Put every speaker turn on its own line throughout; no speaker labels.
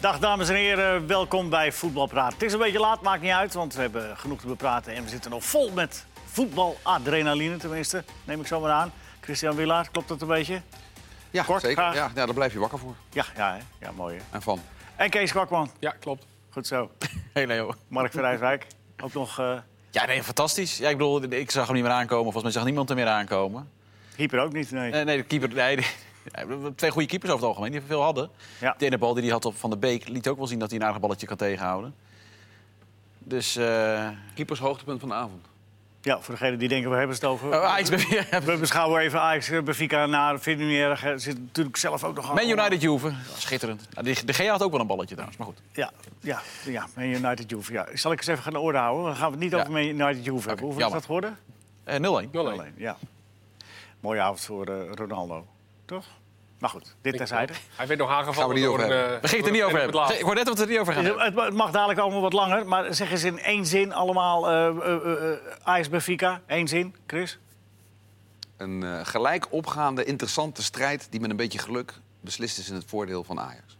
Dag dames en heren, welkom bij Voetbalpraat. Het is een beetje laat, maakt niet uit, want we hebben genoeg te bepraten. En we zitten nog vol met voetbaladrenaline, tenminste. Neem ik zo maar aan. Christian Willaert, klopt dat een beetje?
Ja,
Kort,
zeker.
graag.
Ja, ja, daar blijf je wakker voor.
Ja, ja, hè? ja mooi. hè?
En van.
En Kees Kwakman,
Ja, klopt.
goed zo.
Hey Leo.
Mark Verrijswijk, ook nog eh
Ja, nee, fantastisch. Ja, ik bedoel, ik zag hem niet meer aankomen. Volgens mij zag niemand hem meer aankomen.
hyper ook niet, nee.
Eh, nee, de keeper... Nee, de- ja, twee goede keepers over het algemeen, die veel hadden.
Ja.
De ene bal die hij had op Van de Beek liet ook wel zien dat hij een aardig balletje kan tegenhouden. Dus... eh
Keepers hoogtepunt van de avond.
Ja, voor degenen die denken, we hebben het over.
oh, Ajax bij weer.
We beschouwen even Ajax, eh, Benfica, naar vind ik niet erg. Eh, Zit natuurlijk zelf ook nog aan.
Man United Juve. Schitterend. Nou, die- De Gea had ook wel een balletje trouwens, maar goed.
Ja, ja, ja, Man United Juve. Ja. Zal ik eens even gaan de orde houden? Dan gaan we het niet
Ja.
over Man United Juve hebben. Hoeveel is
jammer.
dat geworden?
Eh 0-1.
Alleen, ja. Mooie avond voor eh, Ronaldo, toch? Maar goed, dit terzijde.
Hij werd nog aangevallen
Gaan we niet
door
over
een...
hebben.
eh,
We gingen het er
door
niet
een
over
fan op
hebben.
het
Ik hoor net dat we het er niet over gaan hebben.
Het ma- het mag dadelijk allemaal wat langer, maar zeg eens in één zin allemaal... eh eh, eh, Ajax Benfica, één zin, Chris?
Een eh, gelijk opgaande, interessante strijd die met een beetje geluk beslist is in het voordeel van Ajax.
laatst.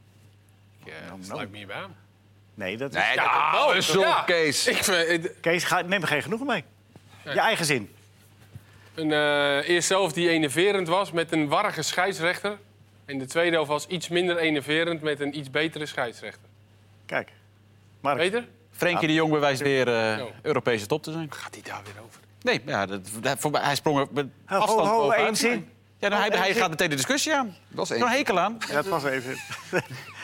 Ja,
Nou,
dat
nou.
sluit me niet bij aan.
Nee, dat is...
Nee,
Ja,
dat
dat-
is zo,
ja.
Kees.
Ik vind eh,
Kees, ga, neem er geen genoegen mee. Je
Nee.
eigen zin.
een eh eerste helft die enerverend was met een warrige scheidsrechter. En de tweede helft was iets minder enerverend met een iets betere scheidsrechter.
Kijk. Mark,
Beter?
Frenkie de Jong bewijst weer eh,
Oh.
Europese top te zijn.
Gaat hij daar weer over?
Nee, ja, dat, dat- voor mij- hij sprong er met
Ho, ho,
afstand
ho,
bovenuit.
één zin.
Ja, nou,
Ho,
hij,
één
hij
zin.
gaat meteen de discussie aan.
Dat is één
Nou,
Zo'n
zin.
hekel aan.
ja, dat was even.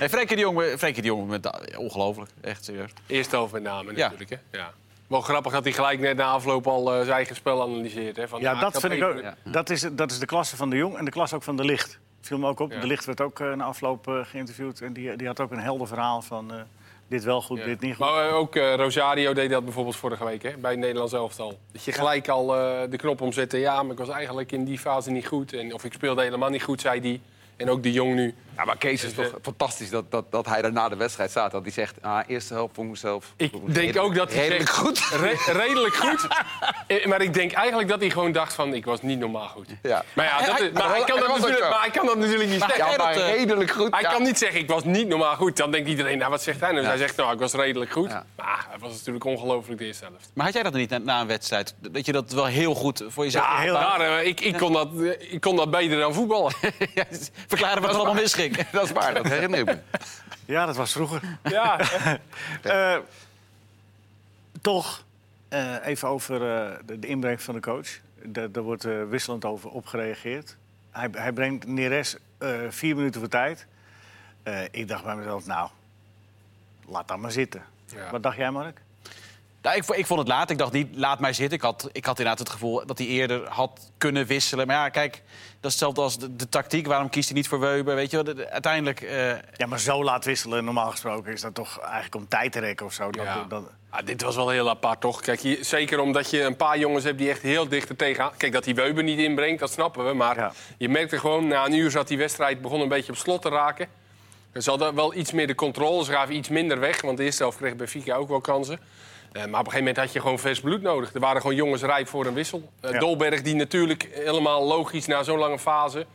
Nee, Frenkie de Jong, eh, Frenkie de Jong met, ja, ongelooflijk. Echt serieus.
Eerste helft met name
Ja.
natuurlijk. Hè? Ja. Wel grappig dat hij gelijk net na afloop al eh, zijn eigen spel analyseert. Hè? Van,
Ja,
ah,
dat
had
vind ik
even-
ook. Dat is, dat is de klasse van de Jong en de klasse ook van de Licht. Viel me ook op.
Ja.
De Licht werd ook eh, na afloop eh, geïnterviewd. En die, die had ook een helder verhaal van eh, dit wel goed,
Ja.
dit niet goed.
Maar eh, ook eh, Rosario deed dat bijvoorbeeld vorige week hè, bij het Nederlands elftal. Dat je gelijk al eh, de knop omzette. Ja, maar ik was eigenlijk in die fase niet goed. En, of ik speelde helemaal niet goed, zei die. En ook de jong nu.
Ja, maar Kees is
Dus,
toch fantastisch dat, dat, dat hij daar na de wedstrijd staat. Dat hij zegt, ah, eerste helft vond ik mezelf... vond
Ik denk
redelijk-
ook dat hij
redelijk
zegt-
goed.
Re- redelijk goed. Eh, maar ik denk eigenlijk dat hij gewoon dacht van ik was niet normaal goed.
Ja.
Maar ja, dat,
Hij-
is- maar hij,
hij
kan dat
was ook
natuurlijk,
zo.
maar hij kan dat natuurlijk niet zeggen.
Ja,
jij
maar
dat, eh,
redelijk goed.
Hij
ja.
kan niet zeggen, ik was niet normaal goed. Dan denkt iedereen, nou wat zegt hij nou? Dus
Ja.
hij zegt, nou ik was redelijk goed.
Ja.
Maar hij was natuurlijk ongelooflijk de eerste helft.
Maar had jij dat niet na, na een wedstrijd? Dat je dat wel heel goed voor jezelf...
Ja,
heel
daar, eh, ik, ik, kon dat, eh, ik kon dat beter dan voetballen.
Ja, Verklaren wat er allemaal misging.
Dat is waar, dat herinner ik me.
Ja, dat was vroeger.
ja.
Eh, toch, eh, even over eh, de, de inbreng van de coach. Daar daar wordt eh, wisselend over opgereageerd. Hij, hij brengt Neres eh, vier minuten voor tijd. Eh, ik dacht bij mezelf, nou, laat dat maar zitten.
Ja.
Wat dacht jij, Mark?
Nou, ik, vo- ik vond het laat. Ik dacht niet, laat mij zitten. Ik had, ik had inderdaad het gevoel dat hij eerder had kunnen wisselen. Maar ja, kijk, dat is hetzelfde als de, de tactiek. Waarom kiest hij niet voor Weuber? Weet je wel, De- de- uiteindelijk... eh,
Ja, maar zo laat wisselen, normaal gesproken, is dat toch eigenlijk om tijd te rekken of zo. Dat,
Ja.
dat-
Ah, dit was wel heel apart, toch? Kijk, hier- zeker omdat je een paar jongens hebt die echt heel dicht er tegenaan... Kijk, dat die Weuber niet inbrengt, dat snappen we. Maar
Ja.
je merkte gewoon, na een uur zat die wedstrijd... begon een beetje op slot te raken. Dus Ze hadden wel iets meer de controle. Ze gaven iets minder weg, want de eerste helft kreeg Benfica ook wel kansen. Eh, maar op een gegeven moment had je gewoon vers bloed nodig. Er waren gewoon jongens rijp voor een wissel. Eh,
Ja.
Dolberg, die natuurlijk helemaal logisch na zo'n lange fase...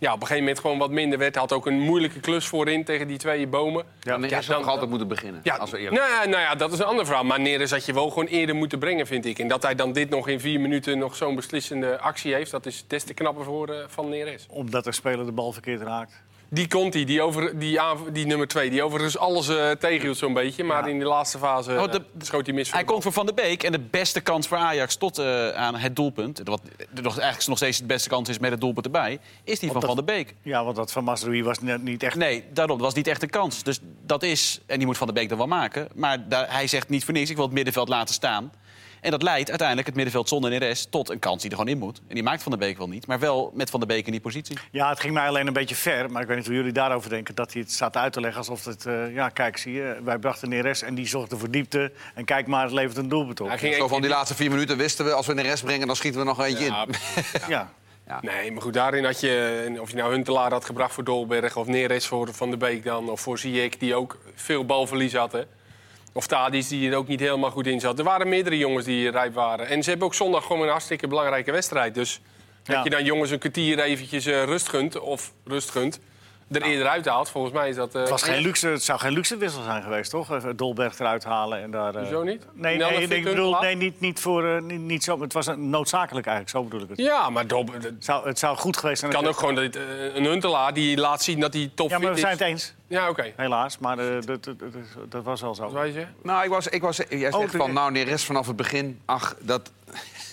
Ja, op een gegeven moment gewoon wat minder werd. Had ook een moeilijke klus voorin tegen die twee bomen.
Dan is
dan-
nog altijd moeten beginnen,
Ja,
als we eerlijk
nou, ja, nou ja, dat is een ander verhaal. Maar Neres had je wel gewoon eerder moeten brengen, vind ik. En dat hij dan dit nog in vier minuten nog zo'n beslissende actie heeft... dat is des te knapper voor eh, van Neres.
omdat de speler de bal verkeerd raakt.
Die Conti, die, over, die, aanv- die nummer twee, die overigens alles eh tegenhield zo'n beetje. Maar in de laatste fase
Oh, de-
eh, schoot hij mis. voor
Hij
de bal.
komt voor Van der Beek en de beste kans voor Ajax tot eh, aan het doelpunt... wat nog- eigenlijk nog steeds de beste kans is met het doelpunt erbij... is die van Van der Beek.
Ja, want dat van Masrui was net niet echt...
Nee, daarom, dat was niet echt een kans. Dus dat is, en die moet Van der Beek dan wel maken... maar daar, hij zegt niet voor niks, ik wil het middenveld laten staan. En dat leidt uiteindelijk het middenveld zonder Neres tot een kans die er gewoon in moet. En die maakt Van der Beek wel niet, maar wel met Van der Beek in die positie.
Ja, het ging mij alleen een beetje ver, maar ik weet niet hoe jullie daarover denken... dat hij het staat uit te leggen alsof het... eh, ja, kijk, zie je, wij brachten Neres en die zorgde voor diepte... en kijk maar, het levert een doelpunt op.
Hij ging
Zo
echt-
van die laatste vier minuten wisten we, als we in de rest brengen, dan schieten we er nog eentje
Ja,
in.
Ja.
Nee, maar goed, daarin had je... en Of je nou Huntelaar had gebracht voor Dolberg... of Neres voor Van der Beek dan, of voor Ziyech... die ook veel balverlies had, hè. Of Tadis, die er ook niet helemaal goed in zat. Er waren meerdere jongens die rijp waren. En ze hebben ook zondag gewoon een hartstikke belangrijke wedstrijd. Dus
Ja.
dat je dan jongens een kwartier eventjes eh, rust gunt... of rust gunt, er eerder uithaalt. Volgens mij is dat... eh,
Het, was geen luxe, het zou geen luxe wissel zijn geweest, toch? Even Dolberg eruit halen en daar... eh,
Hoezo niet?
Nee,
Nel
nee
heeft
ik
geen
bedoel,
punt
nee, niet, niet, voor, eh, niet, niet zo. Het was een noodzakelijk eigenlijk, zo bedoel ik het.
Ja, maar Dob, het
Het zou, het zou goed geweest zijn.
kan ook gewoon dat, eh, een Huntelaar die laat zien dat hij top
Ja, maar we
fit
zijn
is.
het eens,
Ja, oké.
helaas. Maar eh, dat, dat, dat, dat was wel zo.
Wat wou je zeggen?
Nou, ik was, ik was, jij zegt
Oh, de-
van, nou, Neres vanaf het begin... Ach, dat,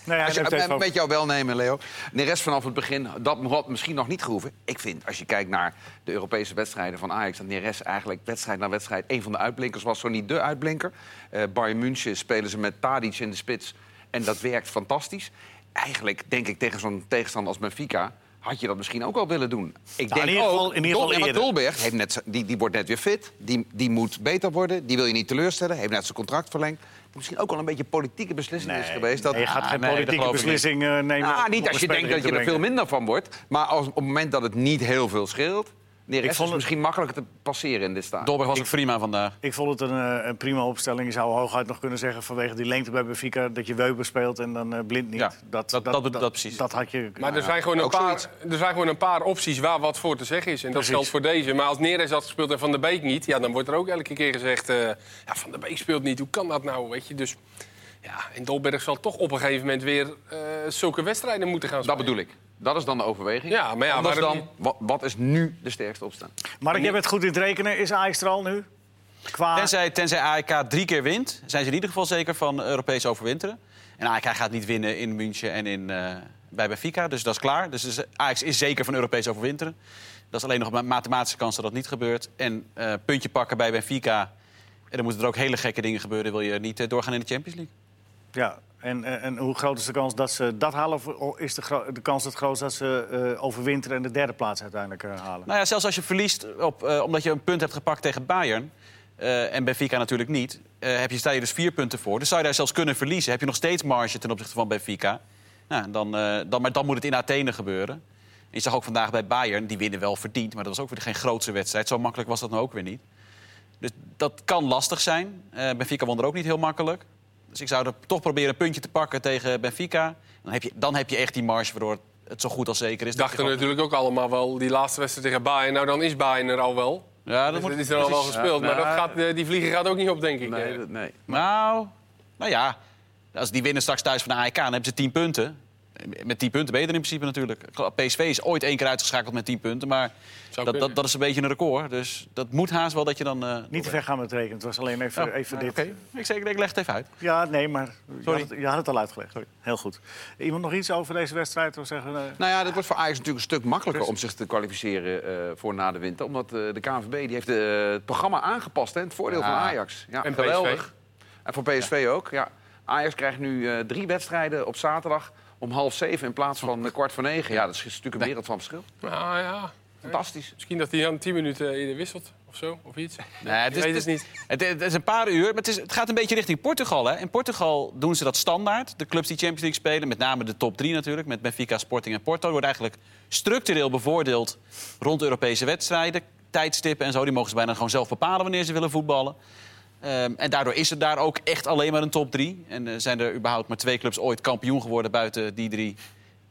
Nee, hij
als je,
heeft het even over-
met jou wel nemen, Leo. Neres vanaf het begin, dat had misschien nog niet gehoeven. Ik vind, als je kijkt naar de Europese wedstrijden van Ajax... dat Neres eigenlijk wedstrijd na wedstrijd een van de uitblinkers was. Zo niet de uitblinker. Eh Bayern München spelen ze met Tadic in de spits. En dat werkt fantastisch. Eigenlijk, denk ik, tegen zo'n tegenstander als Benfica... had je dat misschien ook wel willen doen. Ik
Nou, in
denk
ieder geval-
ook,
in ieder geval
Dol- ja, maar
eerder.
Dolberg heeft net, z- die, die wordt net weer fit. Die, die moet beter worden. Die wil je niet teleurstellen. Heeft net zijn contract verlengd. Misschien ook wel een beetje politieke beslissing is geweest. Dat,
nee, je gaat
Ah,
geen
nee, dat
politieke
geloof ik niet.
beslissing eh, nemen.
nou,
om
niet
een
als je
speler
denkt
in
dat
te
je er
brengen.
veel minder van wordt. Maar als, op het moment dat het niet heel veel scheelt... Neres
Ik
is
vond het-
misschien makkelijker te passeren in dit stadion.
Dolberg was ook prima vandaag.
Ik vond het een, eh, een prima opstelling. Je zou hooguit nog kunnen zeggen vanwege die lengte bij Benfica... dat je Weber speelt en dan eh, blind niet.
Ja, dat- dat- dat precies.
Dat had je...
Maar er zijn, gewoon een
ook
paar,
zoiets.
er zijn gewoon een paar opties waar wat voor te zeggen is. En dat
Precies.
geldt voor deze. Maar als Neres had gespeeld en Van der Beek niet... Ja, dan wordt er ook elke keer gezegd... eh, ja, Van der Beek speelt niet, hoe kan dat nou? Weet je? Dus ja, en Dolberg zal toch op een gegeven moment weer eh, zulke wedstrijden moeten gaan
Dat
spelen.
bedoel ik. Dat is dan de overweging.
Ja, maar ja,
Anders
waarom
dan, wat, wat is nu de sterkste opstaan?
Mark, jij bent goed in het rekenen. Is Ajax er al nu? Qua...
Tenzij, tenzij AEK drie keer wint, zijn ze in ieder geval zeker van Europees overwinteren. En AEK gaat niet winnen in München en in, eh, bij Benfica, dus dat is klaar. Dus is- Ajax is zeker van Europees overwinteren. Dat is alleen nog een mathematische kans dat dat niet gebeurt. En eh, puntje pakken bij Benfica. En dan moeten er ook hele gekke dingen gebeuren. Wil je niet eh, doorgaan in de Champions League?
Ja, en, en, en hoe groot is de kans dat ze dat halen? Of- Of is de, gro- de kans het grootst dat ze eh, overwinteren en de derde plaats uiteindelijk eh, halen?
Nou ja, zelfs als je verliest op, eh, omdat je een punt hebt gepakt tegen Bayern... eh, en Benfica natuurlijk niet, eh, heb je, sta je dus vier punten voor. Dus zou je daar zelfs kunnen verliezen. Heb je nog steeds marge ten opzichte van Benfica. Nou, dan, eh, dan, maar dan moet het in Athene gebeuren. En je zag ook vandaag bij Bayern, die winnen wel verdiend... maar dat was ook weer geen grootse wedstrijd. Zo makkelijk was dat nou ook weer niet. Dus dat kan lastig zijn. Eh, Benfica won er ook niet heel makkelijk. Dus ik zou er toch proberen een puntje te pakken tegen Benfica. Dan heb je, dan heb je echt die marge waardoor het zo goed als zeker is. dat je
Dachten
gewoon-
natuurlijk ook allemaal wel, die laatste wedstrijd tegen Bayern... nou, dan is Bayern er al wel.
Ja,
Dat
dat moet,
is er al wel
precies.
gespeeld.
Ja,
maar dat
nou,
gaat, eh, die vlieger gaat ook niet op, denk ik. Eh,
nee.
Nou, nou ja. Als die winnen straks thuis van de AEK, dan hebben ze 10 punten. Met 10 punten ben je er in principe natuurlijk. PSV is ooit één keer uitgeschakeld met 10 punten. Maar
Zou
dat, dat,
kunnen.
dat is een beetje een record. Dus dat moet haast wel dat je dan... eh,
Niet te ver gaan met rekenen. Het was alleen even,
Oh,
even
nou,
dit.
oké. Ik, zeg, ik leg het even uit.
Ja, nee, maar je had,
Sorry.
het, je had het al uitgelegd. Heel goed. Iemand nog iets over deze wedstrijd? Of zeggen, eh,
Nou ja, dat wordt voor Ajax natuurlijk een stuk makkelijker om zich te kwalificeren eh, voor na de winter. Omdat eh, de KNVB die heeft eh, het programma aangepast, hè, het voordeel
Ja.
van Ajax. Ja,
En PSV.
geweldig. En voor PSV ook, ja. Ajax krijgt nu eh, drie wedstrijden op zaterdag om half zeven in plaats van eh, kwart voor negen. Ja, dat is natuurlijk een wereld van verschil.
Nou ja,
Fantastisch.
misschien dat hij dan 10 minuten eerder wisselt of zo, of iets.
Nee, het,
Je
is,
weet
het,
het niet.
het- het is een paar uur, maar het, is, het gaat een beetje richting Portugal. Hè? In Portugal doen ze dat standaard. De clubs die Champions League spelen, met name de top drie natuurlijk... met Benfica, Sporting en Porto, worden eigenlijk structureel bevoordeeld... rond Europese wedstrijden, tijdstippen en zo. Die mogen ze bijna gewoon zelf bepalen wanneer ze willen voetballen. Ehm, en daardoor is er daar ook echt alleen maar een top drie. En eh, zijn er überhaupt maar twee clubs ooit kampioen geworden buiten die drie.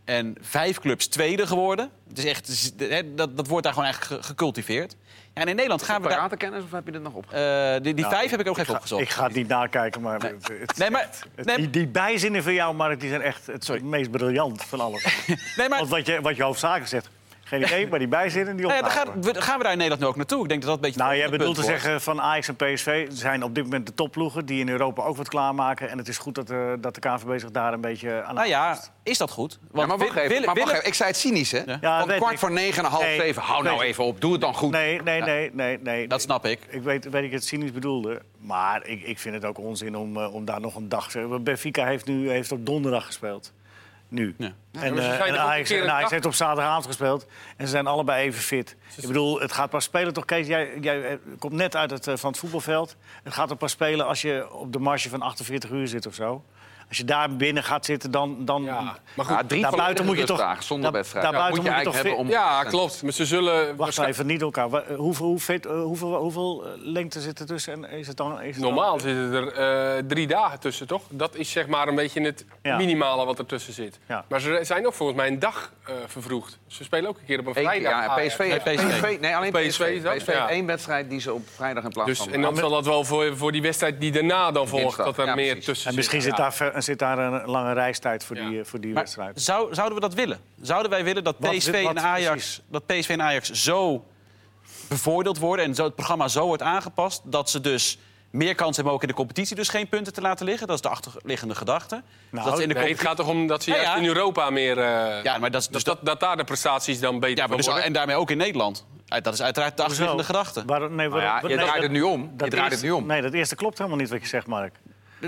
En vijf clubs tweede geworden. Het is echt, z- hè, dat, dat wordt daar gewoon eigenlijk ge- gecultiveerd. Ja, en in Nederland gaan we daar...
Piratenkennis of heb je dit nog op?
Eh, die die
Nou,
vijf heb ik ook even
ga-
opgezocht.
Ik ga het niet nakijken, maar... het- het-
Nee, maar,
het-
nee,
die, die bijzinnen van jou, Mark, die zijn echt het meest briljant van alles.
nee, maar
Want wat je, wat je hoofdzakelijk zegt, geen idee, maar die bijzinnen, die
nou ja, dan
opnamen.
gaan, we, gaan we daar in Nederland nu ook naartoe. Ik denk dat dat een beetje het
Nou, jij
volgende
bedoelt te
punt wordt.
zeggen van Ajax en PSV zijn op dit moment de topploegen... die in Europa ook wat klaarmaken. En het is goed dat, eh, dat de KNVB zich daar een beetje aan...
Nou ja, is dat goed?
Ja, maar
wil-
wacht even,
willen-
maar wacht
willen-
even. Ik zei het cynisch, hè?
Ja,
Van
weet
kwart
ik.
voor negen en half
Nee,
zeven. Hou nou
weet ik.
even op, doe het dan goed.
Nee, nee, nee, nee, nee.
Dat snap ik.
Ik weet, weet ik het cynisch bedoelde. Maar ik, ik vind het ook onzin om, eh, om daar nog een dag... te- want Benfica heeft, nu, heeft op donderdag gespeeld. Nu.
Ja.
En,
maar ze
eh, en
zijn toch ook een
Ajax,
keer
en
een
Ajax
dag-
heeft op zaterdagavond gespeeld. En ze zijn allebei even fit. Ik bedoel, het gaat pas spelen toch, Kees? Jij, jij eh, komt net uit het, eh, van het voetbalveld. Het gaat er pas spelen als je op de marge van 48 uur zit of zo. Als je daar binnen gaat zitten, dan... dan
Ja, maar
Ja,
goed.
drie
daarbuiten moet je toch...
vragen zonder
daar-
wedstrijd.
Daarbuiten
moet je
moet je
eigenlijk
toch...
hebben om...
Ja, klopt. Maar ze zullen...
Wacht
waarschijn-
even, niet elkaar. Wa- eh, Hoeveel, hoe fit, eh, hoeveel, hoeveel eh, lengte zit er tussen? En is het dan, is het dan-
Normaal zitten er eh, drie dagen tussen, toch? Dat is zeg maar een beetje het
Ja.
minimale wat er tussen zit.
Ja.
Maar ze zijn ook volgens mij een dag eh, vervroegd. Ze spelen ook een keer op een
Eén keer,
vrijdag.
Ah, ja,
Ajax.
PSV,
Nee, PSV.
Nee, alleen PSV.
PSV is dat,
PSV
ja.
één wedstrijd die ze op vrijdag in plaats
Dus,
van... eh,
en dan zal dat wel voor, voor die wedstrijd die daarna dan volgt,
Dinsdag,
dat er
ja,
meer
precies.
tussen
En misschien
zit.
zit
Ja.
daar, ver- zit daar een lange reistijd voor
Ja.
die, eh, voor die
Maar
wedstrijd.
zou, zouden we dat willen? Zouden wij willen dat
Wat-
PSV,
wat
en Ajax,
precies?
dat PSV en Ajax zo bevoordeeld worden... en zo, het programma zo wordt aangepast... dat ze dus meer kans hebben ook in de competitie... dus geen punten te laten liggen? Dat is de achterliggende gedachte.
Nou,
dat ze in de
Nee, het
competitie...
gaat toch om dat ze
Ja,
juist
ja.
in Europa meer... eh,
Ja, maar dat is dus
dat, dat, dat daar de prestaties dan beter
Ja, maar
van
dus,
worden.
en daarmee ook in Nederland. Uit- Dat is uiteraard de achterliggende
Zo.
gedachte.
Waarom, nee,
Maar Nou ja,
waarom,
je
nee,
draait
dat-
het nu om. Je
dat
draait het
eerste-
nu om.
Nee, dat eerste klopt helemaal niet wat je zegt, Mark.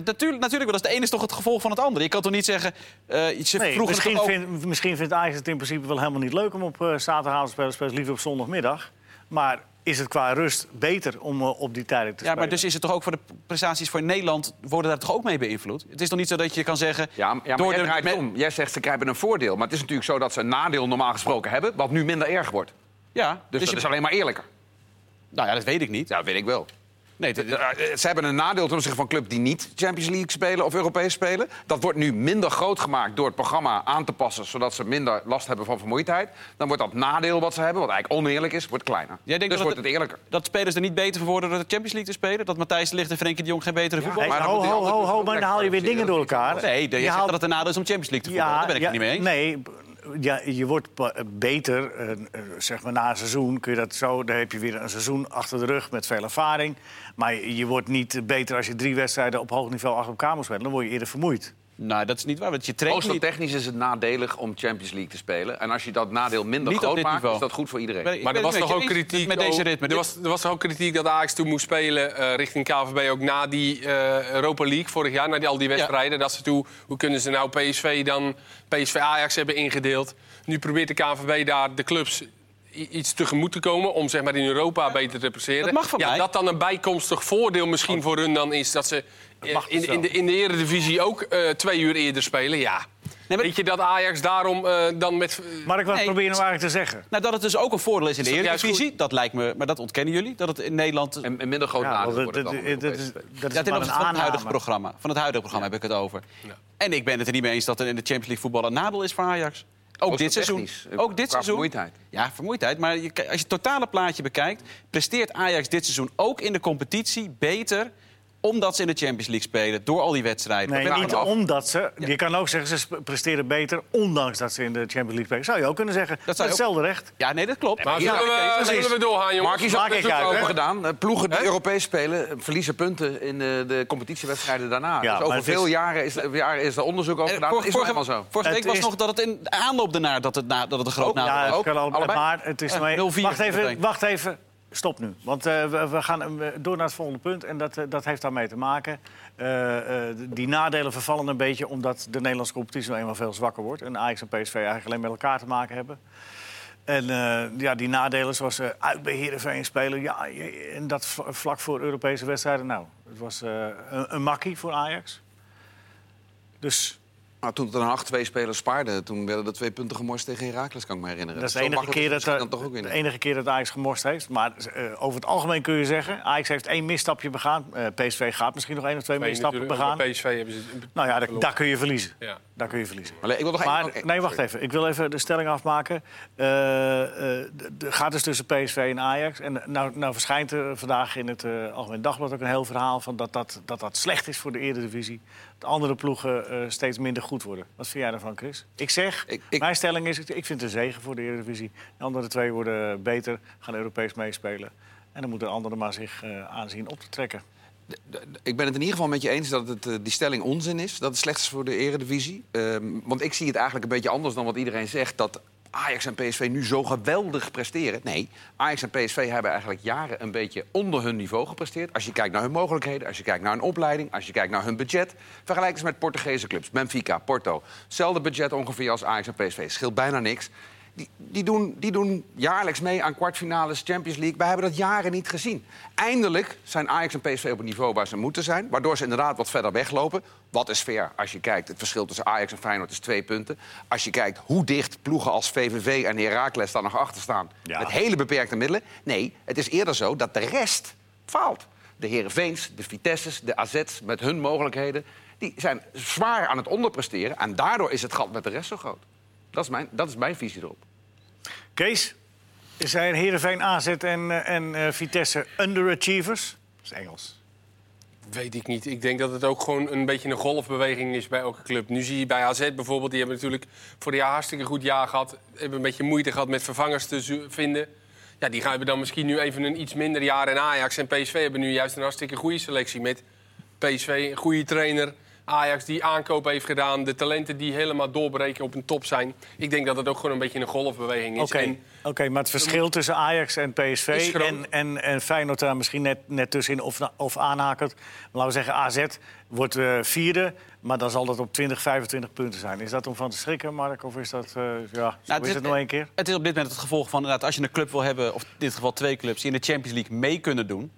Natuurlijk, natuurlijk wel. Dat is de ene is toch het gevolg van het andere. Je kan toch niet zeggen... eh ze
Nee, dus
vroegen
misschien,
toch ook-
vindt- misschien vindt Ajax het in principe wel helemaal niet leuk om op eh, zaterdagavond te spelen. Speelt liever op zondagmiddag. Maar is het qua rust beter om eh, op die tijden te
Ja,
spelen?
maar dus is het toch ook voor de prestaties voor Nederland... worden daar toch ook mee beïnvloed? Het is toch niet zo dat je kan zeggen...
Ja, maar- ja, maar
door
jij
de-
draait het om. Jij zegt ze krijgen een voordeel. Maar het is natuurlijk zo dat ze een nadeel normaal gesproken hebben... wat nu minder erg wordt.
Ja,
Dus,
dus,
dat
je-
is alleen maar eerlijker.
Nou ja, dat weet ik niet.
Ja, dat weet ik wel.
Nee, dit- dit-
Eh, eh, Ze hebben een nadeel ten opzichte van club die niet Champions League spelen of Europees spelen. Dat wordt nu minder groot gemaakt door het programma aan te passen, zodat ze minder last hebben van vermoeidheid. Dan wordt dat nadeel wat ze hebben, wat eigenlijk oneerlijk is, wordt kleiner.
Jij denkt
dus
dat
wordt
het-
het eerlijker.
dat spelers er niet beter voor worden door de Champions League te spelen? Dat Matthijs de Ligt en Frenkie de Jong geen betere voetbal
Hey,
maar dan
ho,
moet die
ho,
andere
ho,
ploeg
ho,
ook
maar dan
lekker
haal je weer dingen door elkaar.
Nee, jij
Je
zegt
haalt-
dat het een nadeel is om Champions League te voetballen. Daar ben ik
ja,
het niet mee eens.
Nee, b- ja, je wordt pa- eh, beter, eh, eh, zeg maar na een seizoen kun je dat zo... Dan heb je weer een seizoen achter de rug met veel ervaring. Maar je, je wordt niet beter als je drie wedstrijden op hoog niveau achter elkaar moet spelen. Dan word je eerder vermoeid.
Nou, dat is niet waar, want je traint niet.
Oostertechnisch is het nadelig om Champions League te spelen. En als je dat nadeel minder
Niet op
groot
dit
maakt,
niveau.
is dat goed voor iedereen.
Ben ik- ik
Maar
ben
er was
het
toch
met
ook
je eens
kritiek
Met deze
over-
ritme.
Er was, er was toch ook kritiek dat Ajax toen moest spelen eh, richting KVB ook na die eh, Europa League vorig jaar, na die, al die wedstrijden. Dat ze toen, hoe kunnen ze nou PSV dan PSV Ajax hebben ingedeeld? Nu probeert de KVB daar de clubs i- iets tegemoet te komen om zeg maar in Europa beter te presteren.
dat mag van
ja,
mij. Oh.
Dat dan een bijkomstig voordeel misschien voor hun dan is dat ze eh,
mag
in,
zo.
dus
in, de, in de Eredivisie ook eh, twee uur eerder spelen. Ja.
maar-
Weet je dat Ajax daarom eh, dan met
Mark, wat
Nee.
probeer je nou eigenlijk te zeggen?
Nou, dat het dus ook een voordeel is in de
Is dat juist
Eredivisie, dat lijkt me, maar dat ontkennen jullie, dat het in Nederland...
Een, een minder groot
Ja,
nadeel
want
wordt het
dat-
dan. om
dat- dat
Europees te
is-
spelen.
dat
Ja,
is
ten
maar een
opzichte van het huidige
aanname.
programma. Van het huidige programma heb ik het over. En ik ben het er niet mee eens dat er in de Champions League voetbal een nadeel is voor Ajax. Ook dit seizoen.
technisch, eh,
Ook dit
qua
seizoen.
vermoeidheid.
Ja, vermoeidheid. Maar je, als je het totale plaatje bekijkt, presteert Ajax dit seizoen ook in de competitie beter omdat ze in de Champions League spelen, door al die wedstrijden.
Nee,
Dat ben ik
niet
af.
omdat ze. Je kan ook zeggen, ze sp- presteren beter ondanks dat ze in de Champions League spelen. Zou je ook kunnen zeggen.
Dat
Dat
zou je
hetzelfde recht.
Ja, nee, dat klopt.
Maar
Ja,
zullen, we,
precies.
zullen we doorgaan, jongens?
Mark is
Maak
ook
ik
onderzoek
uit,
over
hè?
gedaan. Eh, Ploegen die Europees spelen eh, verliezen punten in eh, de competitiewedstrijden daarna.
Ja,
dus
maar
over
het is-
veel jaren, is, jaren is er onderzoek over
Eh,
gedaan.
vor-
Dat is
vorige
helemaal zo.
vorige
Het
week was
is-
nog dat het in de aanloop daarna dat het, na, dat het een groot nadeel
ja,
was.
het kan al-
allebei.
maar het is.
Eh,
maar-
0-4
wacht even,
meteen.
wacht even. Stop nu. Want eh, we, we gaan eh, door naar het volgende punt. En dat, eh, dat heeft daarmee te maken. Eh, eh, die nadelen vervallen een beetje omdat de Nederlandse competitie nou eenmaal veel zwakker wordt. En Ajax en PSV eigenlijk alleen met elkaar te maken hebben. En eh, ja, die nadelen zoals eh uit bij Heerenveen spelen. Ja, je- en dat v- vlak voor Europese wedstrijden. Nou, het was eh, een, een makkie voor Ajax. Dus
Nou, toen er een 8-2 spelers spaarden, toen werden er twee punten gemorst tegen Herakles, kan ik me herinneren.
dat is de
Zo
enige,
makkelijk
keer dat,
is het misschien
eh,
dan toch ook weer
de
niet.
enige keer dat Ajax gemorst heeft. Maar eh, over het algemeen kun je zeggen... Ajax heeft één misstapje begaan. Eh, PSV gaat misschien nog één of twee
Nee,
misstappen
natuurlijk,
begaan.
ook bij PSV hebben ze...
Nou ja, daar,
verloren.
daar kun je verliezen.
Ja.
Daar kun je verliezen.
Allee, ik wil nog één-
Maar,
oké,
nee, wacht
sorry.
even. Ik wil even de stelling afmaken. Eh, eh, d- d- gaat dus tussen PSV en Ajax. En nou, nou verschijnt er vandaag in het eh, Algemeen Dagblad ook een heel verhaal... Van dat, dat, dat dat slecht is voor de Eredivisie. Dat andere ploegen eh, steeds minder goed worden. Wat vind jij daarvan, Chris? Ik zeg,
Ik- ik-
mijn stelling is... Ik ik vind het een zegen voor de Eredivisie. De andere twee worden eh, beter, gaan Europees meespelen. En dan moeten de anderen maar zich eh, aanzien op te trekken.
D- d- Ik ben het in ieder geval met je eens dat het, eh, die stelling onzin is. Dat het slecht is voor de eredivisie. Ehm, want ik zie het eigenlijk een beetje anders dan wat iedereen zegt. Dat Ajax en PSV nu zo geweldig presteren. Nee, Ajax en PSV hebben eigenlijk jaren een beetje onder hun niveau gepresteerd. Als je kijkt naar hun mogelijkheden, als je kijkt naar hun opleiding, als je kijkt naar hun budget. Vergelijk eens met Portugese clubs. Benfica, Porto. Hetzelfde budget ongeveer als Ajax en PSV. Scheelt bijna niks. die, die, doen, die doen jaarlijks mee aan kwartfinales Champions League. Wij hebben dat jaren niet gezien. Eindelijk zijn Ajax en PSV op het niveau waar ze moeten zijn. Waardoor ze inderdaad wat verder weglopen. Wat is fair als je kijkt? Het verschil tussen Ajax en Feyenoord is twee punten. Als je kijkt hoe dicht ploegen als VVV en Heracles daar nog achter staan.
Ja.
Met hele beperkte middelen. Nee, het is eerder zo dat de rest faalt. De Herenveens, de Vitesses, de AZ's met hun mogelijkheden. Die zijn zwaar aan het onderpresteren. En daardoor is het gat met de rest zo groot. Dat is mijn, dat is mijn visie erop.
Kees, zijn Heerenveen, AZ en, eh, en eh, Vitesse underachievers? Dat is Engels.
Weet ik niet. Ik denk dat het ook gewoon een beetje een golfbeweging is bij elke club. Nu zie je bij AZ bijvoorbeeld, die hebben natuurlijk voor een jaar hartstikke goed jaar gehad. Hebben een beetje moeite gehad met vervangers te zo- vinden. Ja, die gaan hebben dan misschien nu even een iets minder jaar. En Ajax en PSV hebben nu juist een hartstikke goede selectie met PSV, een goede trainer. Ajax die aankopen heeft gedaan. De talenten die helemaal doorbreken op een top zijn. Ik denk dat het ook gewoon een beetje een golfbeweging is.
Oké,
En
oké, maar het verschil tussen Ajax en
Is
PSV
groot.
en, en, en Feyenoord daar misschien net, net tussenin of, na- of aanhakert. Laten we zeggen, AZ wordt eh, vierde, maar dan zal dat op 20, 25 punten zijn. Is dat om van te schrikken, Mark? Of is dat, eh, ja, zo
Nou,
is het nog één keer?
Het is op dit moment het gevolg van inderdaad, als je een club wil hebben, of in dit geval twee clubs, die in de Champions League mee kunnen doen.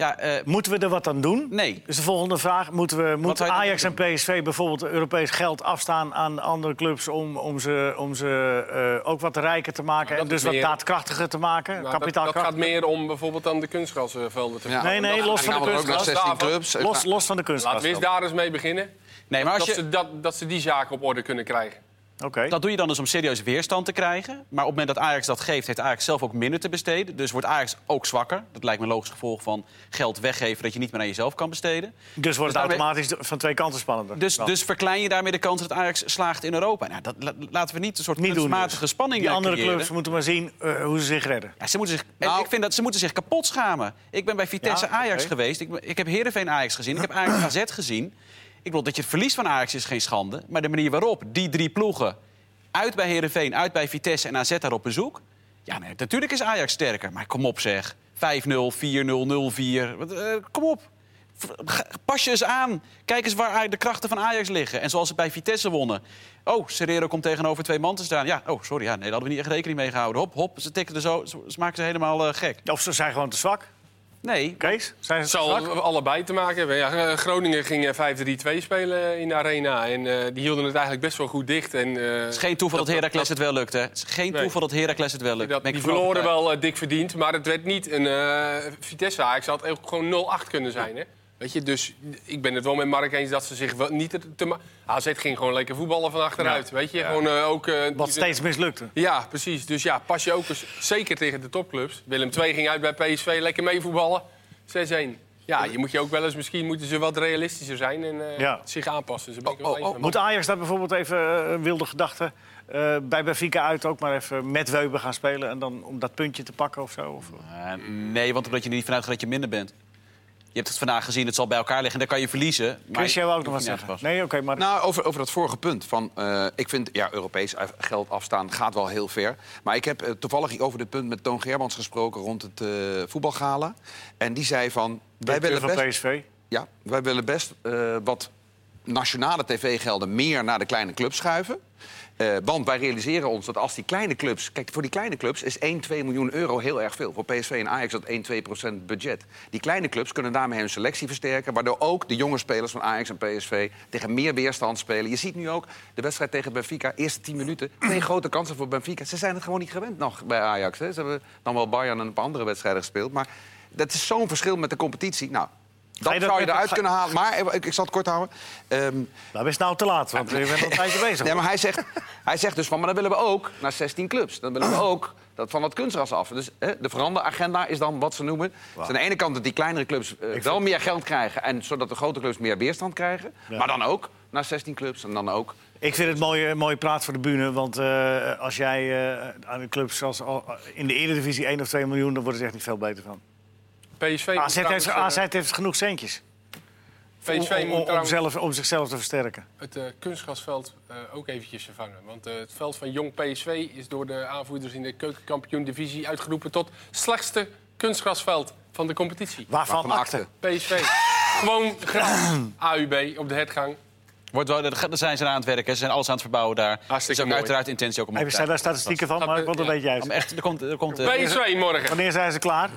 Ja, eh,
Moeten we er wat aan doen?
nee.
Dus de volgende vraag, moeten we, moet
zou je dan
Ajax en PSV bijvoorbeeld Europees geld afstaan aan andere clubs om, om ze, om ze eh, ook wat rijker te maken
Nou, dat
en dus
is
wat
meer-
daadkrachtiger te maken?
nou, dat, dat
Kapitaalkracht?
gaat meer om bijvoorbeeld dan de kunstgrasvelden te
Ja.
Nee, nee,
Dat-
los van
gaan
de
we ook naar
kunstgras.
16 clubs.
Los, los van de kunstgras.
Laten we eens daar eens mee beginnen.
nee, maar als
dat,
je,
ze, dat, dat ze die zaken op orde kunnen krijgen.
Oké.
Dat doe je dan dus om serieus weerstand te krijgen. Maar op het moment dat Ajax dat geeft, heeft Ajax zelf ook minder te besteden. Dus wordt Ajax ook zwakker. Dat lijkt me een logisch gevolg van geld weggeven dat je niet meer aan jezelf kan besteden.
Dus wordt het
daarmee-
automatisch de- van twee kanten spannender.
Dus,
Dan.
dus verklein je daarmee de kans dat Ajax slaagt in Europa. Nou, dat la- laten we niet een soort
Niet doen dus.
kunstmatige spanning
die
eh,
andere
creëren.
clubs moeten maar zien eh, hoe ze zich redden.
Ja, ze moeten zich, en
Nou-
ik vind dat ze moeten zich kapot schamen. Ik ben bij Vitesse
Ja,
Ajax
oké.
geweest. Ik, ben- ik heb Heerenveen Ajax gezien. Ik heb Ajax AZ gezien. Ik bedoel, dat je het verlies van Ajax is geen schande. Maar de manier waarop die drie ploegen... uit bij Heerenveen, uit bij Vitesse en AZ daar op bezoek... Ja, nee, natuurlijk is Ajax sterker. Maar kom op zeg. 5-0, 4-0, 0-4. Wat, eh, kom op. V- ga- Pas je eens aan. Kijk eens waar Aj- de krachten van Ajax liggen. En zoals ze bij Vitesse wonnen. Oh, Serrero komt tegenover twee man te staan. Ja, oh, sorry. Ja, nee, daar hadden we niet echt rekening mee gehouden. Hop, hop. Ze tikken er zo. Ze ze maken ze helemaal eh, gek.
Of ze zijn gewoon te zwak.
Nee.
Kees, zijn
Het
ze te zwak?
zal allebei te maken hebben. Ja, eh, Groningen ging eh, 5-3-2 spelen in de arena. En eh, die hielden het eigenlijk best wel goed dicht. En, eh,
Het is geen toeval dat, Heracles het wel lukt, hè? Het is geen
Nee.
toeval dat Heracles het wel lukt.
dat,
Ben ik
die
van
verloren
overtuigd.
wel eh, dik verdiend, maar het werd niet een eh Vitesse Ajax. Het had ook gewoon 0-8 kunnen zijn. Hè? Weet je, dus ik ben het wel met Mark eens dat ze zich wel niet te- te... ma- AZ ging gewoon lekker voetballen van achteruit. Weet je, gewoon eh, ook... eh,
Wat
die-
steeds mislukte.
Ja, precies. Dus ja, pas je ook eens, zeker tegen de topclubs. Willem II ging uit bij PSV, lekker meevoetballen. 6-1. Ja, je moet je ook wel eens, misschien moeten ze wat realistischer zijn en eh,
Ja.
zich aanpassen. Ze ben ik
Oh,
wel
oh,
eens
oh,
met
Moet Ajax daar bijvoorbeeld even eh, een wilde gedachte eh, bij Benfica uit ook maar even met Weuben gaan spelen en dan om dat puntje te pakken of zo? Of,
Eh, nee, want omdat je er niet vanuit gaat dat je minder bent. Je hebt het vandaag gezien, het zal bij elkaar liggen. Dan kan je verliezen. Maar
Chris, jij wou ook nog
hoeft
wat
niet aan te
zeggen?
passen.
Nee, oké, maar
Nou, over, over dat vorige punt. Van, eh, ik vind, ja, Europees af- geld afstaan gaat wel heel ver. Maar ik heb eh, toevallig over dit punt met Toon Germans gesproken... rond het eh, voetbalgala. En die zei van... Wij
directeur
willen
van
best,
PSV.
ja, wij willen best eh, wat nationale tv-gelden meer naar de kleine clubs schuiven. Eh, want wij realiseren ons dat als die kleine clubs... Kijk, voor die kleine clubs is 1, 2 miljoen euro heel erg veel. Voor PSV en Ajax dat 1, 2 procent budget. Die kleine clubs kunnen daarmee hun selectie versterken... waardoor ook de jonge spelers van Ajax en PSV tegen meer weerstand spelen. Je ziet nu ook de wedstrijd tegen Benfica, eerste 10 minuten... twee grote kansen voor Benfica. Ze zijn het gewoon niet gewend nog bij Ajax. Hè. Ze hebben dan wel Bayern en een paar andere wedstrijden gespeeld. Maar dat is zo'n verschil met de competitie. Nou,
Ga
dat,
je dat
zou je
met-
eruit
ga-
kunnen halen. Maar eh, ik, ik zal het kort houden. Ehm,
Nou, is nou te laat, want we zijn al een tijdje bezig.
nee, maar hij zegt, hij zegt dus van, maar dan willen we ook naar 16 clubs. Dan willen we ook dat van dat kunstras af. Dus hè, de veranderagenda is dan wat ze noemen. Dus aan de ene kant dat die kleinere clubs eh, wel meer geld krijgen... en zodat de grote clubs meer weerstand krijgen. Maar dan ook naar 16 clubs en dan ook...
Ik vind het mooie, mooie praat voor de bühne. Want eh, als jij eh, aan de clubs als, al- in de Eredivisie 1 of 2 miljoen... dan wordt het echt niet veel beter van.
PSV moet
AZ heeft,
trouwens, eh,
AZ heeft genoeg centjes om,
PSV
om-
moet
om,
trouwens
zelf, om zichzelf te versterken.
het eh, kunstgrasveld eh, ook eventjes vervangen. Want eh, het veld van Jong PSV is door de aanvoerders in de keukenkampioen-divisie uitgeroepen... tot slechtste kunstgrasveld van de competitie.
Waarvan
Waarvan
akte?
akte?
PSV. Gewoon gras. AUB op de hertgang.
Wordt wel, daar gaan- daar zijn ze aan het werken. Ze zijn alles aan het verbouwen daar.
Hartstikke
is ook
mooi.
uiteraard intentie ook om op
Even,
te
zijn
kijken.
daar statistieken van, maar wat een
Ja.
beetje
Ja,
uit.
maar echt, er komt... Er komt eh,
PSV morgen.
Wanneer zijn ze klaar?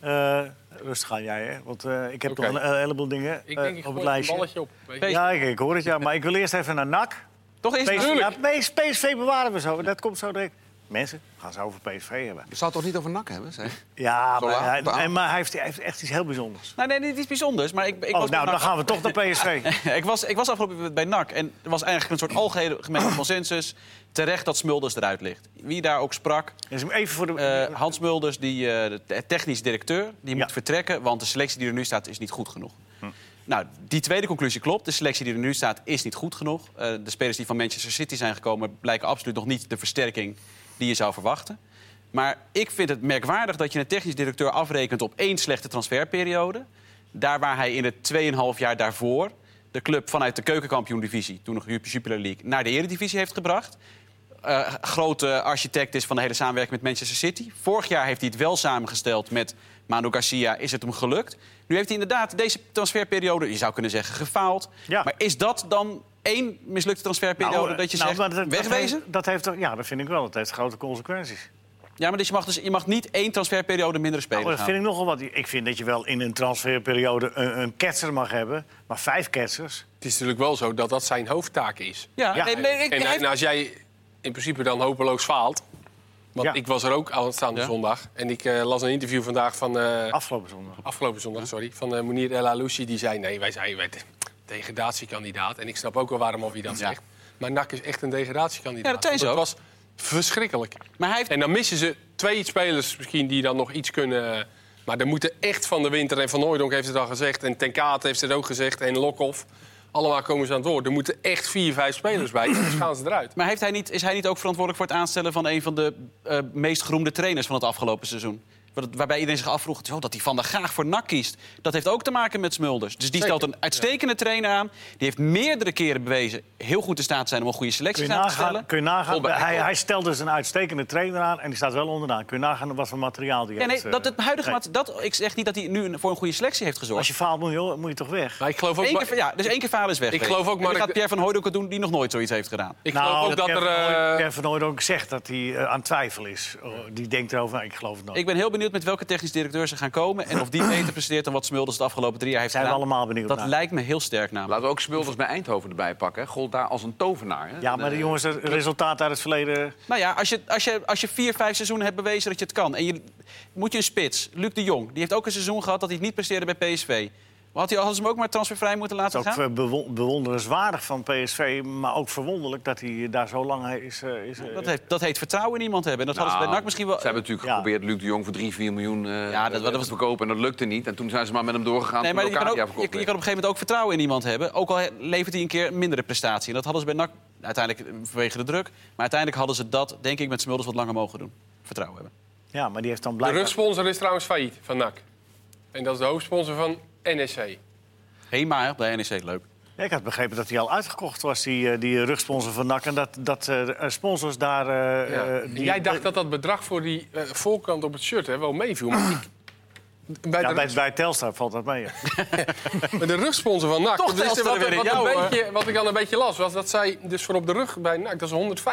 Eh, rustig aan jij, hè? Want eh, ik heb
Oké.
nog een, een heleboel dingen
Ik
eh,
denk, ik
op
gooi
het
een
lijstje.
balletje op. weet je.
Ja, ik, ik hoor het, ja. Maar ik wil eerst even naar NAC.
toch is
PSV,
het...
ja, PS- PSV bewaren we zo. Dat komt zo direct. Mensen gaan ze over PSV hebben.
Je zou het toch niet over nak hebben? Zeg?
Ja,
Zo laat
maar, hij,
op de avond.
en- maar hij, heeft, hij heeft echt iets heel bijzonders.
Nou, nee, dit is bijzonders. Maar ik, ik
Oh,
was bij
nou, dan
NAC
gaan we toch naar PSV.
ik, was, ik was afgelopen weekend bij NAC en er was eigenlijk een soort algemene consensus. Terecht dat Smulders eruit ligt. Wie daar ook sprak.
Dus even voor de...
eh, Hans Smulders, die eh, de technisch directeur, die
Ja.
moet vertrekken, want de selectie die er nu staat is niet goed genoeg. Nou, die tweede conclusie klopt. De selectie die er nu staat is niet goed genoeg. Eh, de spelers die van Manchester City zijn gekomen blijken absoluut nog niet de versterking die je zou verwachten. Maar ik vind het merkwaardig dat je een technisch directeur afrekent op één slechte transferperiode. Daar waar hij in de 2,5 jaar daarvoor de club vanuit de keukenkampioen-divisie, toen nog Jupiler League, naar de eredivisie heeft gebracht eh, grote architect is van de hele samenwerking met Manchester City. Vorig jaar heeft hij het wel samengesteld met Manu Garcia. Is het hem gelukt? Nu heeft hij inderdaad deze transferperiode, je zou kunnen zeggen, gefaald.
Ja.
Maar is dat dan één mislukte transferperiode
eh,
dat je
nou,
zegt,
maar dat-
wegwezen?
Dat heeft, dat heeft toch- ja, dat vind ik wel. Dat heeft grote consequenties.
Ja, maar dus je, mag dus, je mag niet één transferperiode minder spelen
Maar Oh, dat
gaan.
vind ik nogal wat. Ik vind dat je wel in een transferperiode een, een ketser mag hebben. Maar vijf ketsers...
Het is natuurlijk wel zo dat dat zijn hoofdtaak is.
Ja,
Ja.
nee, nee, ik,
en, nou-
hij heeft-
en als jij in principe dan hopeloos faalt. Want
Ja.
ik was er ook aanstaande
Ja.
zondag. En ik eh, las een interview vandaag van. eh,
Afgelopen zondag.
afgelopen zondag, sorry. Van eh Mounir El Alouchi. Die zei: nee, wij zijn wij zijn degradatiekandidaat. En ik snap ook wel waarom of hij dat
Ja.
zegt. Maar NAC is echt een degradatiekandidaat.
Ja, dat zijn ze
Want
ook.
was verschrikkelijk.
maar hij heeft
En dan missen ze twee spelers misschien die dan nog iets kunnen. eh, Maar er moeten echt van de winter. En Van Hooijdonk heeft het al gezegd. En Ten Kaat heeft het ook gezegd. En Lokhoff. Allemaal komen ze aan het woord. Er moeten echt vier, vijf spelers bij. Anders gaan ze eruit.
Maar heeft hij niet, is hij niet ook verantwoordelijk voor het aanstellen van een van de eh, meest geroemde trainers van het afgelopen seizoen? Waar- Waarbij iedereen zich afvroeg "Zo, dat hij Van der Graag voor NAC kiest. Dat heeft ook te maken met Smulders. Dus die
Zeker,
stelt een uitstekende trainer aan. Die heeft meerdere keren bewezen heel goed in staat te zijn om een goede
Kun
selectie
je
samen te
nagaan,
stellen.
kun je nagaan
Volberg,
hij,
ook.
hij stelt dus een uitstekende trainer aan en die staat wel onderaan. Kun je nagaan wat voor materiaal die
Ja, nee,
heeft. eh,
dat het huidige
nee.
mat- dat, ik zeg niet dat hij nu een- voor een goede selectie heeft gezorgd.
Als je faalt, moet je, moet je toch weg?
Maar ik geloof ook,
Eén
maar-
keer, ja, dus één keer falen is weg.
Ik
geweest.
geloof ook,
En
maar
dan gaat
ik-
Pierre van Hooydonk het doen die nog nooit zoiets heeft gedaan.
ik
Nou,
geloof ook dat, er. eh,
Pierre van Hooyd ook zegt dat hij eh, aan twijfel is. Oh, die denkt erover, ik geloof het nooit.
Ik ben heel benieuwd met welke technisch directeur ze gaan komen... en of die beter presteert dan wat Smulders de afgelopen drie jaar heeft
Zijn we
gedaan.
allemaal benieuwd
Dat
naar.
lijkt me heel sterk namelijk.
Laten we ook Smulders bij Eindhoven erbij pakken. hè. Gold daar als een tovenaar. Hè?
Ja, maar de
Eh,
jongens, het resultaat uit het verleden...
Nou ja, als je, als, je, als je vier, vijf seizoenen hebt bewezen dat je het kan. En je, moet je een spits. Luc de Jong, die heeft ook een seizoen gehad dat hij het niet presteerde bij PSV. Maar had hij, hadden ze hem ook maar transfervrij moeten laten
Het is ook
gaan?
eh, bewo- bewonderenswaardig van PSV, maar ook verwonderlijk dat hij eh, daar zo lang he- is. eh, is eh,
Dat heet, dat heet vertrouwen in iemand hebben. En dat hadden ze
nou,
bij NAC misschien wel...
Ze hebben natuurlijk
Ja.
geprobeerd Luc de Jong voor 3, 4 miljoen eh
Ja, dat- dat
te
was-
verkopen. En dat lukte niet. En toen zijn ze maar met hem doorgegaan.
Nee,
toen
maar je kan, ook,
Locadia
je, je kan op
verkocht
een
werd.
gegeven moment ook vertrouwen in iemand hebben. Ook al he- levert hij een keer een mindere prestatie. En dat hadden ze bij NAC uiteindelijk eh, vanwege de druk. Maar uiteindelijk hadden ze dat, denk ik, met Smulders wat langer mogen doen. Vertrouwen hebben.
Ja, maar die heeft dan
De
blijkbaar...
rugsponsor is trouwens failliet van NAC. En dat is de hoofdsponsor van NEC.
Hema hè, bij NEC, leuk.
Ja, Ik had begrepen dat hij al uitgekocht was, die, eh, die rugsponsor van NAC. En dat, dat eh, de, eh, sponsors daar... eh,
Ja.
eh,
En
die-
Jij dacht dat dat bedrag voor die eh, voorkant op het shirt hè, wel meeviel. Maar ik, bij,
Ja,
de,
bij, bij Telstar valt dat mee. ja.
bij de rugsponsor van NAC.
Toch
dat is
telt
er
er
wat,
weer in
wat,
jou,
een
hoor.
beetje, wat ik dan een beetje las, was dat zij dus voor op de rug bij NAC, dat is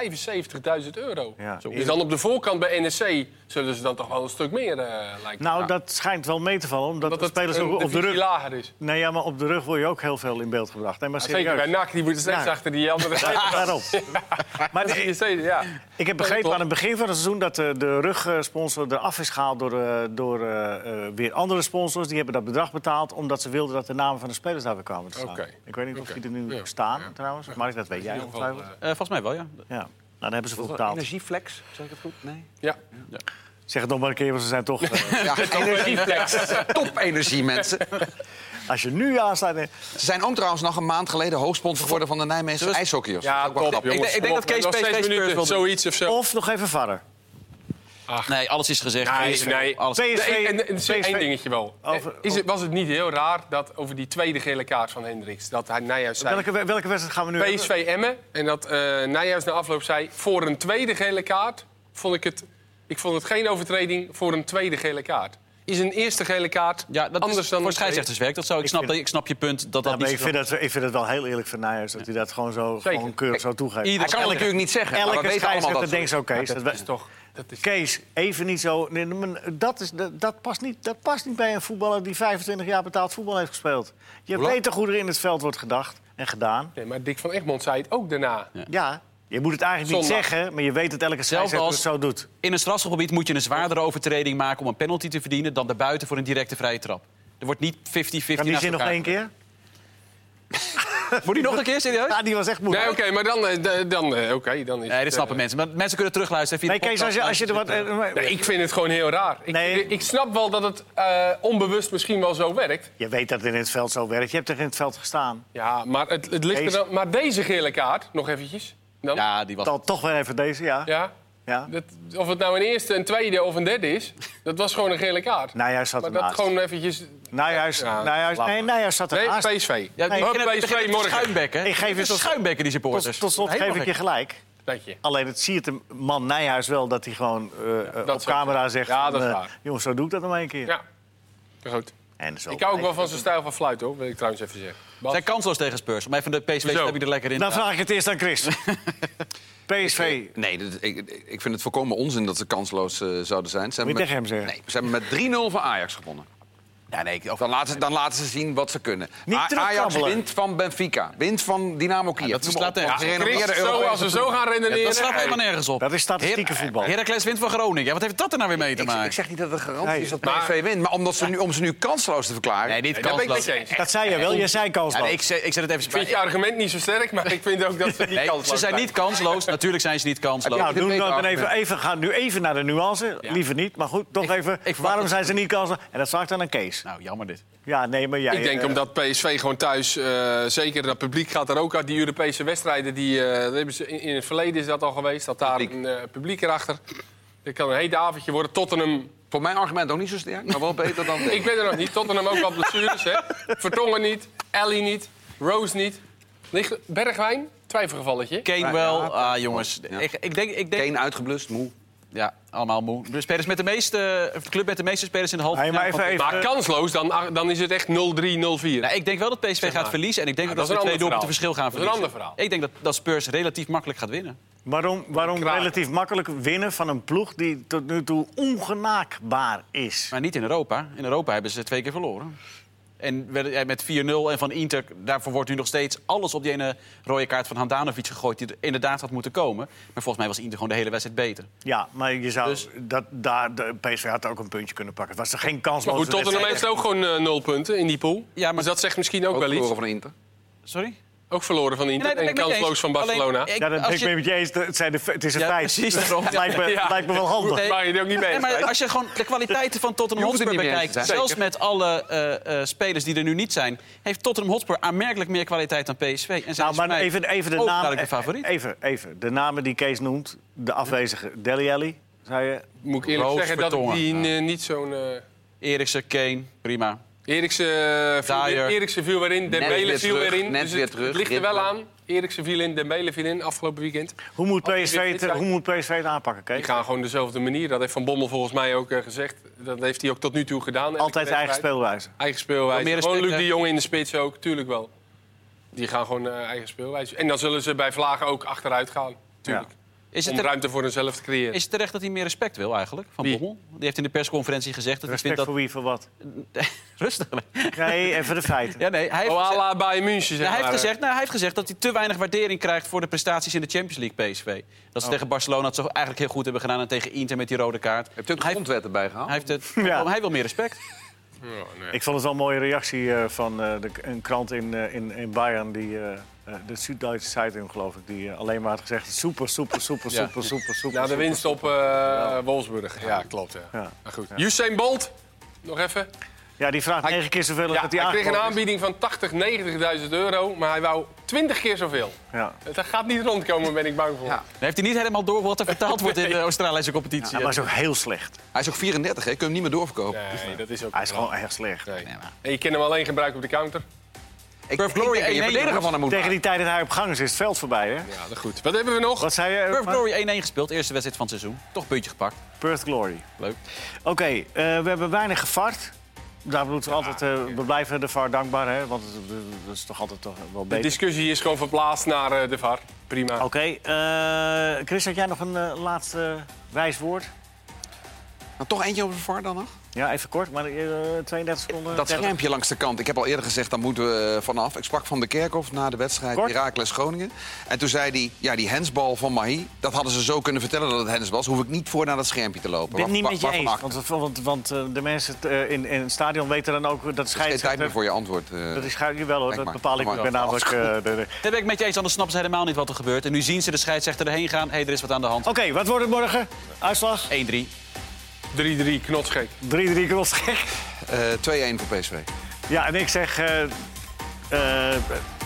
175.000 euro.
Ja. Zo.
Dus dan op de voorkant bij NEC zullen ze dan toch wel een stuk meer eh lijken.
Nou, dat schijnt wel mee te vallen, omdat
dat
de spelers ook op de rug...
lager is.
Nee, ja, maar op de rug word je ook heel veel in beeld gebracht. Nee, maar
Zeker bij
serieus.
NAC, die moeten steeds
Ja.
achter die andere
Ja,
zijkant.
daarom. Maar
Dat
de-
is steeds- ja.
ik heb
Ja,
begrepen
klopt.
aan het begin van het seizoen dat eh, de rugsponsor eraf is gehaald door, eh, door eh, eh, weer andere sponsors. Die hebben dat bedrag betaald omdat ze wilden dat de namen van de spelers daar weer kwamen te staan.
Oké.
Ik weet niet of
Oké.
die er nu
Ja.
staan trouwens. Maar dat weet jij
In ieder geval,
ongetwijfeld.
eh,
Eh, volgens mij wel, ja.
Ja, nou, daar hebben ze voor
Was dat
betaald.
Energieflex, zeg ik het goed? Nee.
Ja.
Zeg het nog maar een keer, want ze zijn toch... eh,
Ja, top energie, mensen.
als je nu aansluit... eh,
Ze zijn ook trouwens nog een maand geleden hoogsponsor geworden van de Nijmeegse
Dus-
ijshockeyers.
Ja,
Ook wel
top,
grappig.
jongens.
Ik denk- ik denk dat Kees PSV
Nog zes
Spurs
minuten,
wil doen. Oh,
zoiets of zo.
Of nog even verder.
Nee, alles is gezegd.
Nee,
Alles-
nee.
Alles.
PSV
Nee, en, en,
PSV
één dingetje wel.
Over-
is het, was het niet heel raar dat over die tweede gele kaart van Hendricks... dat hij Nijhuis zei,
Welke, welke wedstrijd gaan we nu hebben?
PSV Emmen... en dat eh Nijhuis na afloop zei, voor een tweede gele kaart... vond ik het, ik vond het geen overtreding voor een tweede gele kaart. is een eerste gele kaart
Ja, dat
anders
is
dan
voor
een tweede.
scheidsrechterswerk. Dat zou ik,
Ik
snap,
vind-
dat- ik snap je punt dat
Ja, maar
dat niet
ik,
zo-
vind dat, ik vind het wel heel eerlijk van Nijers dat hij dat gewoon zo
Zeker.
gewoon keurig zo toegeeft.
Hij kan het natuurlijk niet zeggen. maar we
Elke
weten allemaal
scheidsrechter
dat
denkt zo, Kees. Dat
Dat is
we-
toch... Dat is,
Kees, even niet zo. nee, maar Dat, is, dat, dat past niet, dat past niet bij een voetballer die 25 jaar betaald voetbal heeft gespeeld. Je
Hoe lang-
weet toch hoe er in het veld wordt gedacht en gedaan.
nee, maar Dick van Egmond zei het ook daarna.
Ja, je moet het eigenlijk niet
Zondag.
zeggen, maar je weet dat elke scheidsrechter
als-
het zo doet.
In een strafschopgebied moet je een zwaardere overtreding maken om een penalty te verdienen dan daarbuiten voor een directe vrije trap. Er wordt niet 50-50
Kan die
naast
zin nog
elkaar.
één keer?
Moet die nog een keer, serieus?
Ja, die was echt
Nee,
moeilijk.
oké, maar dan, eh, d- dan, eh, oké, dan is
Nee,
het,
dit
eh,
snappen mensen. Maar mensen kunnen terugluisteren via
Nee,
de
Kees, als je, als je er wat... eh, maar-
Nee, ik vind het gewoon heel raar. Ik,
Nee.
ik snap wel dat het eh, onbewust misschien wel zo werkt.
Je weet dat het in het veld zo werkt. Je hebt er in het veld gestaan.
Ja, maar, het, het ligt er
Deze-
dan, maar deze gele kaart, nog eventjes. Dan, ja.
Ja, die was...
Dan toch weer even deze, ja. ja.
dat, of het nou een eerste, een tweede of een derde is, dat was gewoon een gele kaart.
Nijhuis zat
maar dat
ernaast.
gewoon eventjes...
Nijhuis,
Ja,
Nijhuis,
laat
nee, Nijhuis zat
Nee,
ernaast.
PSV.
Ja,
Nee.
die beginnen-
PSV
beginnen te
morgen.
Schuimbekken.
Ik geef je
Te
tot-
schuimbekken, die supporters.
Tot, Dus tot slot
Helemaal
geef ik je
gek.
gelijk.
Dat je.
Alleen het ziet de man Nijhuis wel dat hij gewoon eh, eh,
dat
op
is
camera
waar.
zegt...
Ja, dat
van,
is
eh,
waar.
jongens, zo doe ik dat nog maar een keer.
Ja, goed.
En zo
Ik hou ook wel
blijft
van zijn stijl van fluit, hoor, wil ik trouwens even zeggen. Bas?
Zijn kansloos tegen Spurs. Maar even de PSV
Zo.
heb je er lekker in.
het. Dan vraag ik het eerst aan Chris. PSV,
Nee, dat- ik, ik vind het volkomen onzin dat ze kansloos eh, zouden zijn. Ze
Moet je
hebben
tegen hem
met-
zeggen.
Nee, ze hebben met 3-0 van Ajax gewonnen.
Ja, nee, ik-
Dan laten, ze, dan laten ze zien wat ze kunnen.
Niet
A- Ajax
terugkrabbelen.
wint van Benfica. Wint van Dynamo Kiev.
dat is-
Noem maar
laat-
op.
ja,
Ze
Chris,
renoveren de
Zo,
Europese
als we
ploeg.
zo gaan redeneren...
dat slaat
nee.
helemaal nergens op.
dat is statistieke
Heer-
voetbal.
Heracles wint van Groningen. Ja, wat heeft dat er nou weer mee te
Ik, ik
maken?
zeg niet dat het garantie
Nee.
is dat
Maar-
PSV wint. Maar omdat ze nu, om ze nu kansloos te verklaren...
Nee, niet
Nee, dat ben ik
kansloos.
met je eens.
Dat zei je wel, je zei
Ja, nee,
kansloos.
ik, zeg, ik zet het even...
Ik vind je argument niet zo sterk, maar ik vind ook dat ze niet
Nee,
kansloos
ze zijn
zijn.
niet kansloos. Natuurlijk zijn ze niet kansloos.
Ja,
Nou,
ik
doen we
weet
dan
het
even, even, gaan nu even naar de nuance. Liever niet, maar goed, toch even.
ik verwacht
waarom
het.
zijn ze niet kansloos? En dat zag ik dan aan Kees.
Nou, jammer dit.
Ja, nee, maar jij...
Ik denk
eh,
omdat PSV gewoon thuis, eh, zeker dat publiek gaat er ook uit. Die Europese wedstrijden, die, eh, dat hebben ze, in, in het verleden is dat al geweest. Dat daar een eh, publiek erachter. Dit kan een hete avondje worden. Tottenham,
Voor mijn argument ook niet zo sterk, maar wel beter dan...
ik ben er nog niet. Tottenham ook wat blessures, hè. Vertongen niet, Ellie niet, Rose niet. Ligt- Bergwijn, twijfelgevalletje.
Kane wel. Ah, jongens. Ik, ik denk... Ik denk
Kane uitgeblust, moe.
ja, allemaal moe. De spelers met de meeste... De club met de meeste spelers in de halve
Nee, maar even, even,
Maar kansloos, dan, dan is het echt 0-3, 0-4.
Nou, ik denk wel dat PSV gaat verliezen. En ik denk
Ja,
ook dat,
dat is
ze
een
twee
ander
doelpunten verschil gaan
verhaal.
verliezen.
Dat is een ander
Ik denk dat, dat Spurs relatief makkelijk gaat winnen.
Waarom, waarom
Kraken.
relatief makkelijk winnen van een ploeg die tot nu toe ongenaakbaar is?
Maar niet in Europa. In Europa hebben ze twee keer verloren. En werden- eh, met 4-0 en van Inter, daarvoor wordt nu nog steeds alles op die ene rode kaart van Handanovic gegooid... die er inderdaad had moeten komen. Maar volgens mij was Inter gewoon de hele wedstrijd beter.
Ja, maar je zou
Dus-
dat, daar, de PSV had ook een puntje kunnen pakken. Het was er geen kans
Maar goed, Tottenham heeft ook gewoon eh, nul punten in die pool.
Ja, maar-
Dus dat zegt misschien ook,
Ook
wel iets.
verloren van Inter.
Sorry?
Ook verloren van Inter
Nee, dat ben
en
ik met je
kansloos
eens.
van Barcelona.
Alleen, ik-
Ja, dat ben
als
ik
je-
mee met je eens. Het, zijn de, het is een
Ja,
feit.
precies, daarom.
Het lijkt me,
Ja.
het lijkt me wel handig.
Nee.
Waar je het ook niet mee
Nee,
eens
maar
bent.
als je gewoon de kwaliteiten van Tottenham
Je hoeft het
Hotspur
niet mee eens
bekijkt...
te zijn.
zelfs met alle eh, eh, spelers die er nu niet zijn... heeft Tottenham Hotspur aanmerkelijk meer kwaliteit dan PSV. En zijn
Nou,
dus
maar
voor mij
even, even de
ook
namen.
duidelijk de favoriet.
Even, even. De namen die Kees noemt. De afwezige Deli Alli, zei je.
Moet ik eerlijk
Roos,
zeggen dat ik
Vertongen.
die eh, niet zo'n... eh,
Eriksen, Kane, prima.
Eriksen eh, viel,
Dyer.
Eriksen viel weer in, Dembele
weer
viel
terug,
weer in.
net
Dus
weer
het,
terug,
het ligt er
Ritme.
wel aan. Eriksen viel in, Dembele viel in afgelopen weekend.
Hoe moet
Als die
PSV
dit
het,
zijn-
hoe moet PSV het aanpakken,
Die
Kees?
gaan gewoon dezelfde manier. Dat heeft Van Bommel volgens mij ook eh, gezegd. Dat heeft hij ook tot nu toe gedaan. Elke
Altijd eigen
wedstrijd.
speelwijze.
Eigen
Wel meer
speelwijze. Gewoon
respect,
Luc de
hè?
Jong in de spits ook, tuurlijk wel. Die gaan gewoon eh, eigen speelwijze. En dan zullen ze bij Vlagen ook achteruit gaan. Tuurlijk.
Is het,
Om
te-
ruimte voor hunzelf te creëren.
is het terecht dat hij meer respect wil eigenlijk, Van
Wie?
Bommel? Die heeft in de persconferentie gezegd dat
Respect
hij
voor
vindt
wie, voor wat?
dat... Rustig.
Nee, even de feiten.
Ja, nee, hij heeft,
Oh, à
gezegd,
la Bayern München, zeg
hij, heeft
maar.
gezegd, nou, hij heeft gezegd dat hij te weinig waardering krijgt... voor de prestaties in de Champions League PSV. Dat
Oh.
ze tegen Barcelona het zo eigenlijk heel goed hebben gedaan... en tegen Inter met die rode kaart.
Heeft u ook de
Hij-
grondwet erbij gehaald?
Hij, heeft het,
Ja.
hij wil meer respect.
Ik vond het wel een mooie reactie eh, van eh, de, een krant in, eh, in, in Bayern, die, eh eh, de Zuid-Duitse Zeitung, geloof ik, die eh, alleen maar had gezegd: super, super, super,
Ja.
super, super, super.
Na de
super.
winst op eh, Wolfsburg. Ja, klopt. Ja.
Ja.
Maar goed. Usain Bolt, nog even.
Ja, die vraagt negen keer zoveel als
Ja,
dat
hij kreeg een
aangekomen is.
aanbieding van 80, 90.000 euro, maar hij wou 20 keer zoveel.
Ja.
Dat gaat niet rondkomen, ben ik bang voor.
Ja.
Dan heeft hij niet helemaal door wat er vertaald wordt in de Australische competitie.
Hij was ook heel slecht.
Hij is ook 34, hè? Kun je hem niet meer doorverkopen?
Nee, dat is ook
Hij is
een ramp.
gewoon erg slecht.
Nee. En je kan hem alleen gebruiken op de counter.
Ik,
Turf Glory
ik denk dat je
1-1
verdediger van hem moet
Tegen
maken.
die tijd dat hij op gang is, is het veld voorbij, hè?
Ja, dat goed. Wat hebben we nog?
Wat zei je?
Perth
Purple
Glory 1-1 gespeeld, eerste wedstrijd van het seizoen. Toch puntje gepakt.
Perth Glory.
Leuk.
Oké, eh, we hebben weinig gevart. Daar moeten we altijd... eh, we blijven de VAR dankbaar, hè? Want het- dat is toch altijd toch wel
De
beter.
discussie is gewoon verplaatst naar eh, de VAR. Prima.
Oké, eh, Chris, had jij nog een eh, laatste wijs woord?
Nou, toch eentje over de VAR dan nog?
Ja, even kort, maar eh, 32 seconden.
Dat
30.
schermpje langs de kant. Ik heb al eerder gezegd, daar moeten we eh, vanaf. Ik sprak van de Kerkhof na de wedstrijd
Kort.
Heracles Groningen. En toen zei hij, ja, die hensbal van Mahi... dat hadden ze zo kunnen vertellen dat het hens was. Hoef ik niet voor naar dat schermpje te lopen.
Ik ben het niet
Waar-
met je
waarvan
eens.
acte?
Want, want, want eh, de mensen eh, in, in het stadion weten dan ook dat
Geen tijd meer
scheidsrechter...
voor je antwoord. eh.
Dat is schuil, wel hoor,
Kijk
dat
maar.
bepaal ik.
Maar
Ik ben
dat-
namelijk... eh, de- de-
Daar ben ik met je eens, anders snappen ze helemaal niet wat er gebeurt. En nu zien ze de scheidsrechter erheen gaan. Hé, hey, er is wat aan de hand.
Oké, wat wordt het morgen? Uitslag?
1-3.
3-3, knotsgek.
3-3 crossgek.
Eh, 2-1 voor PSV.
Ja, en ik zeg... eh, eh,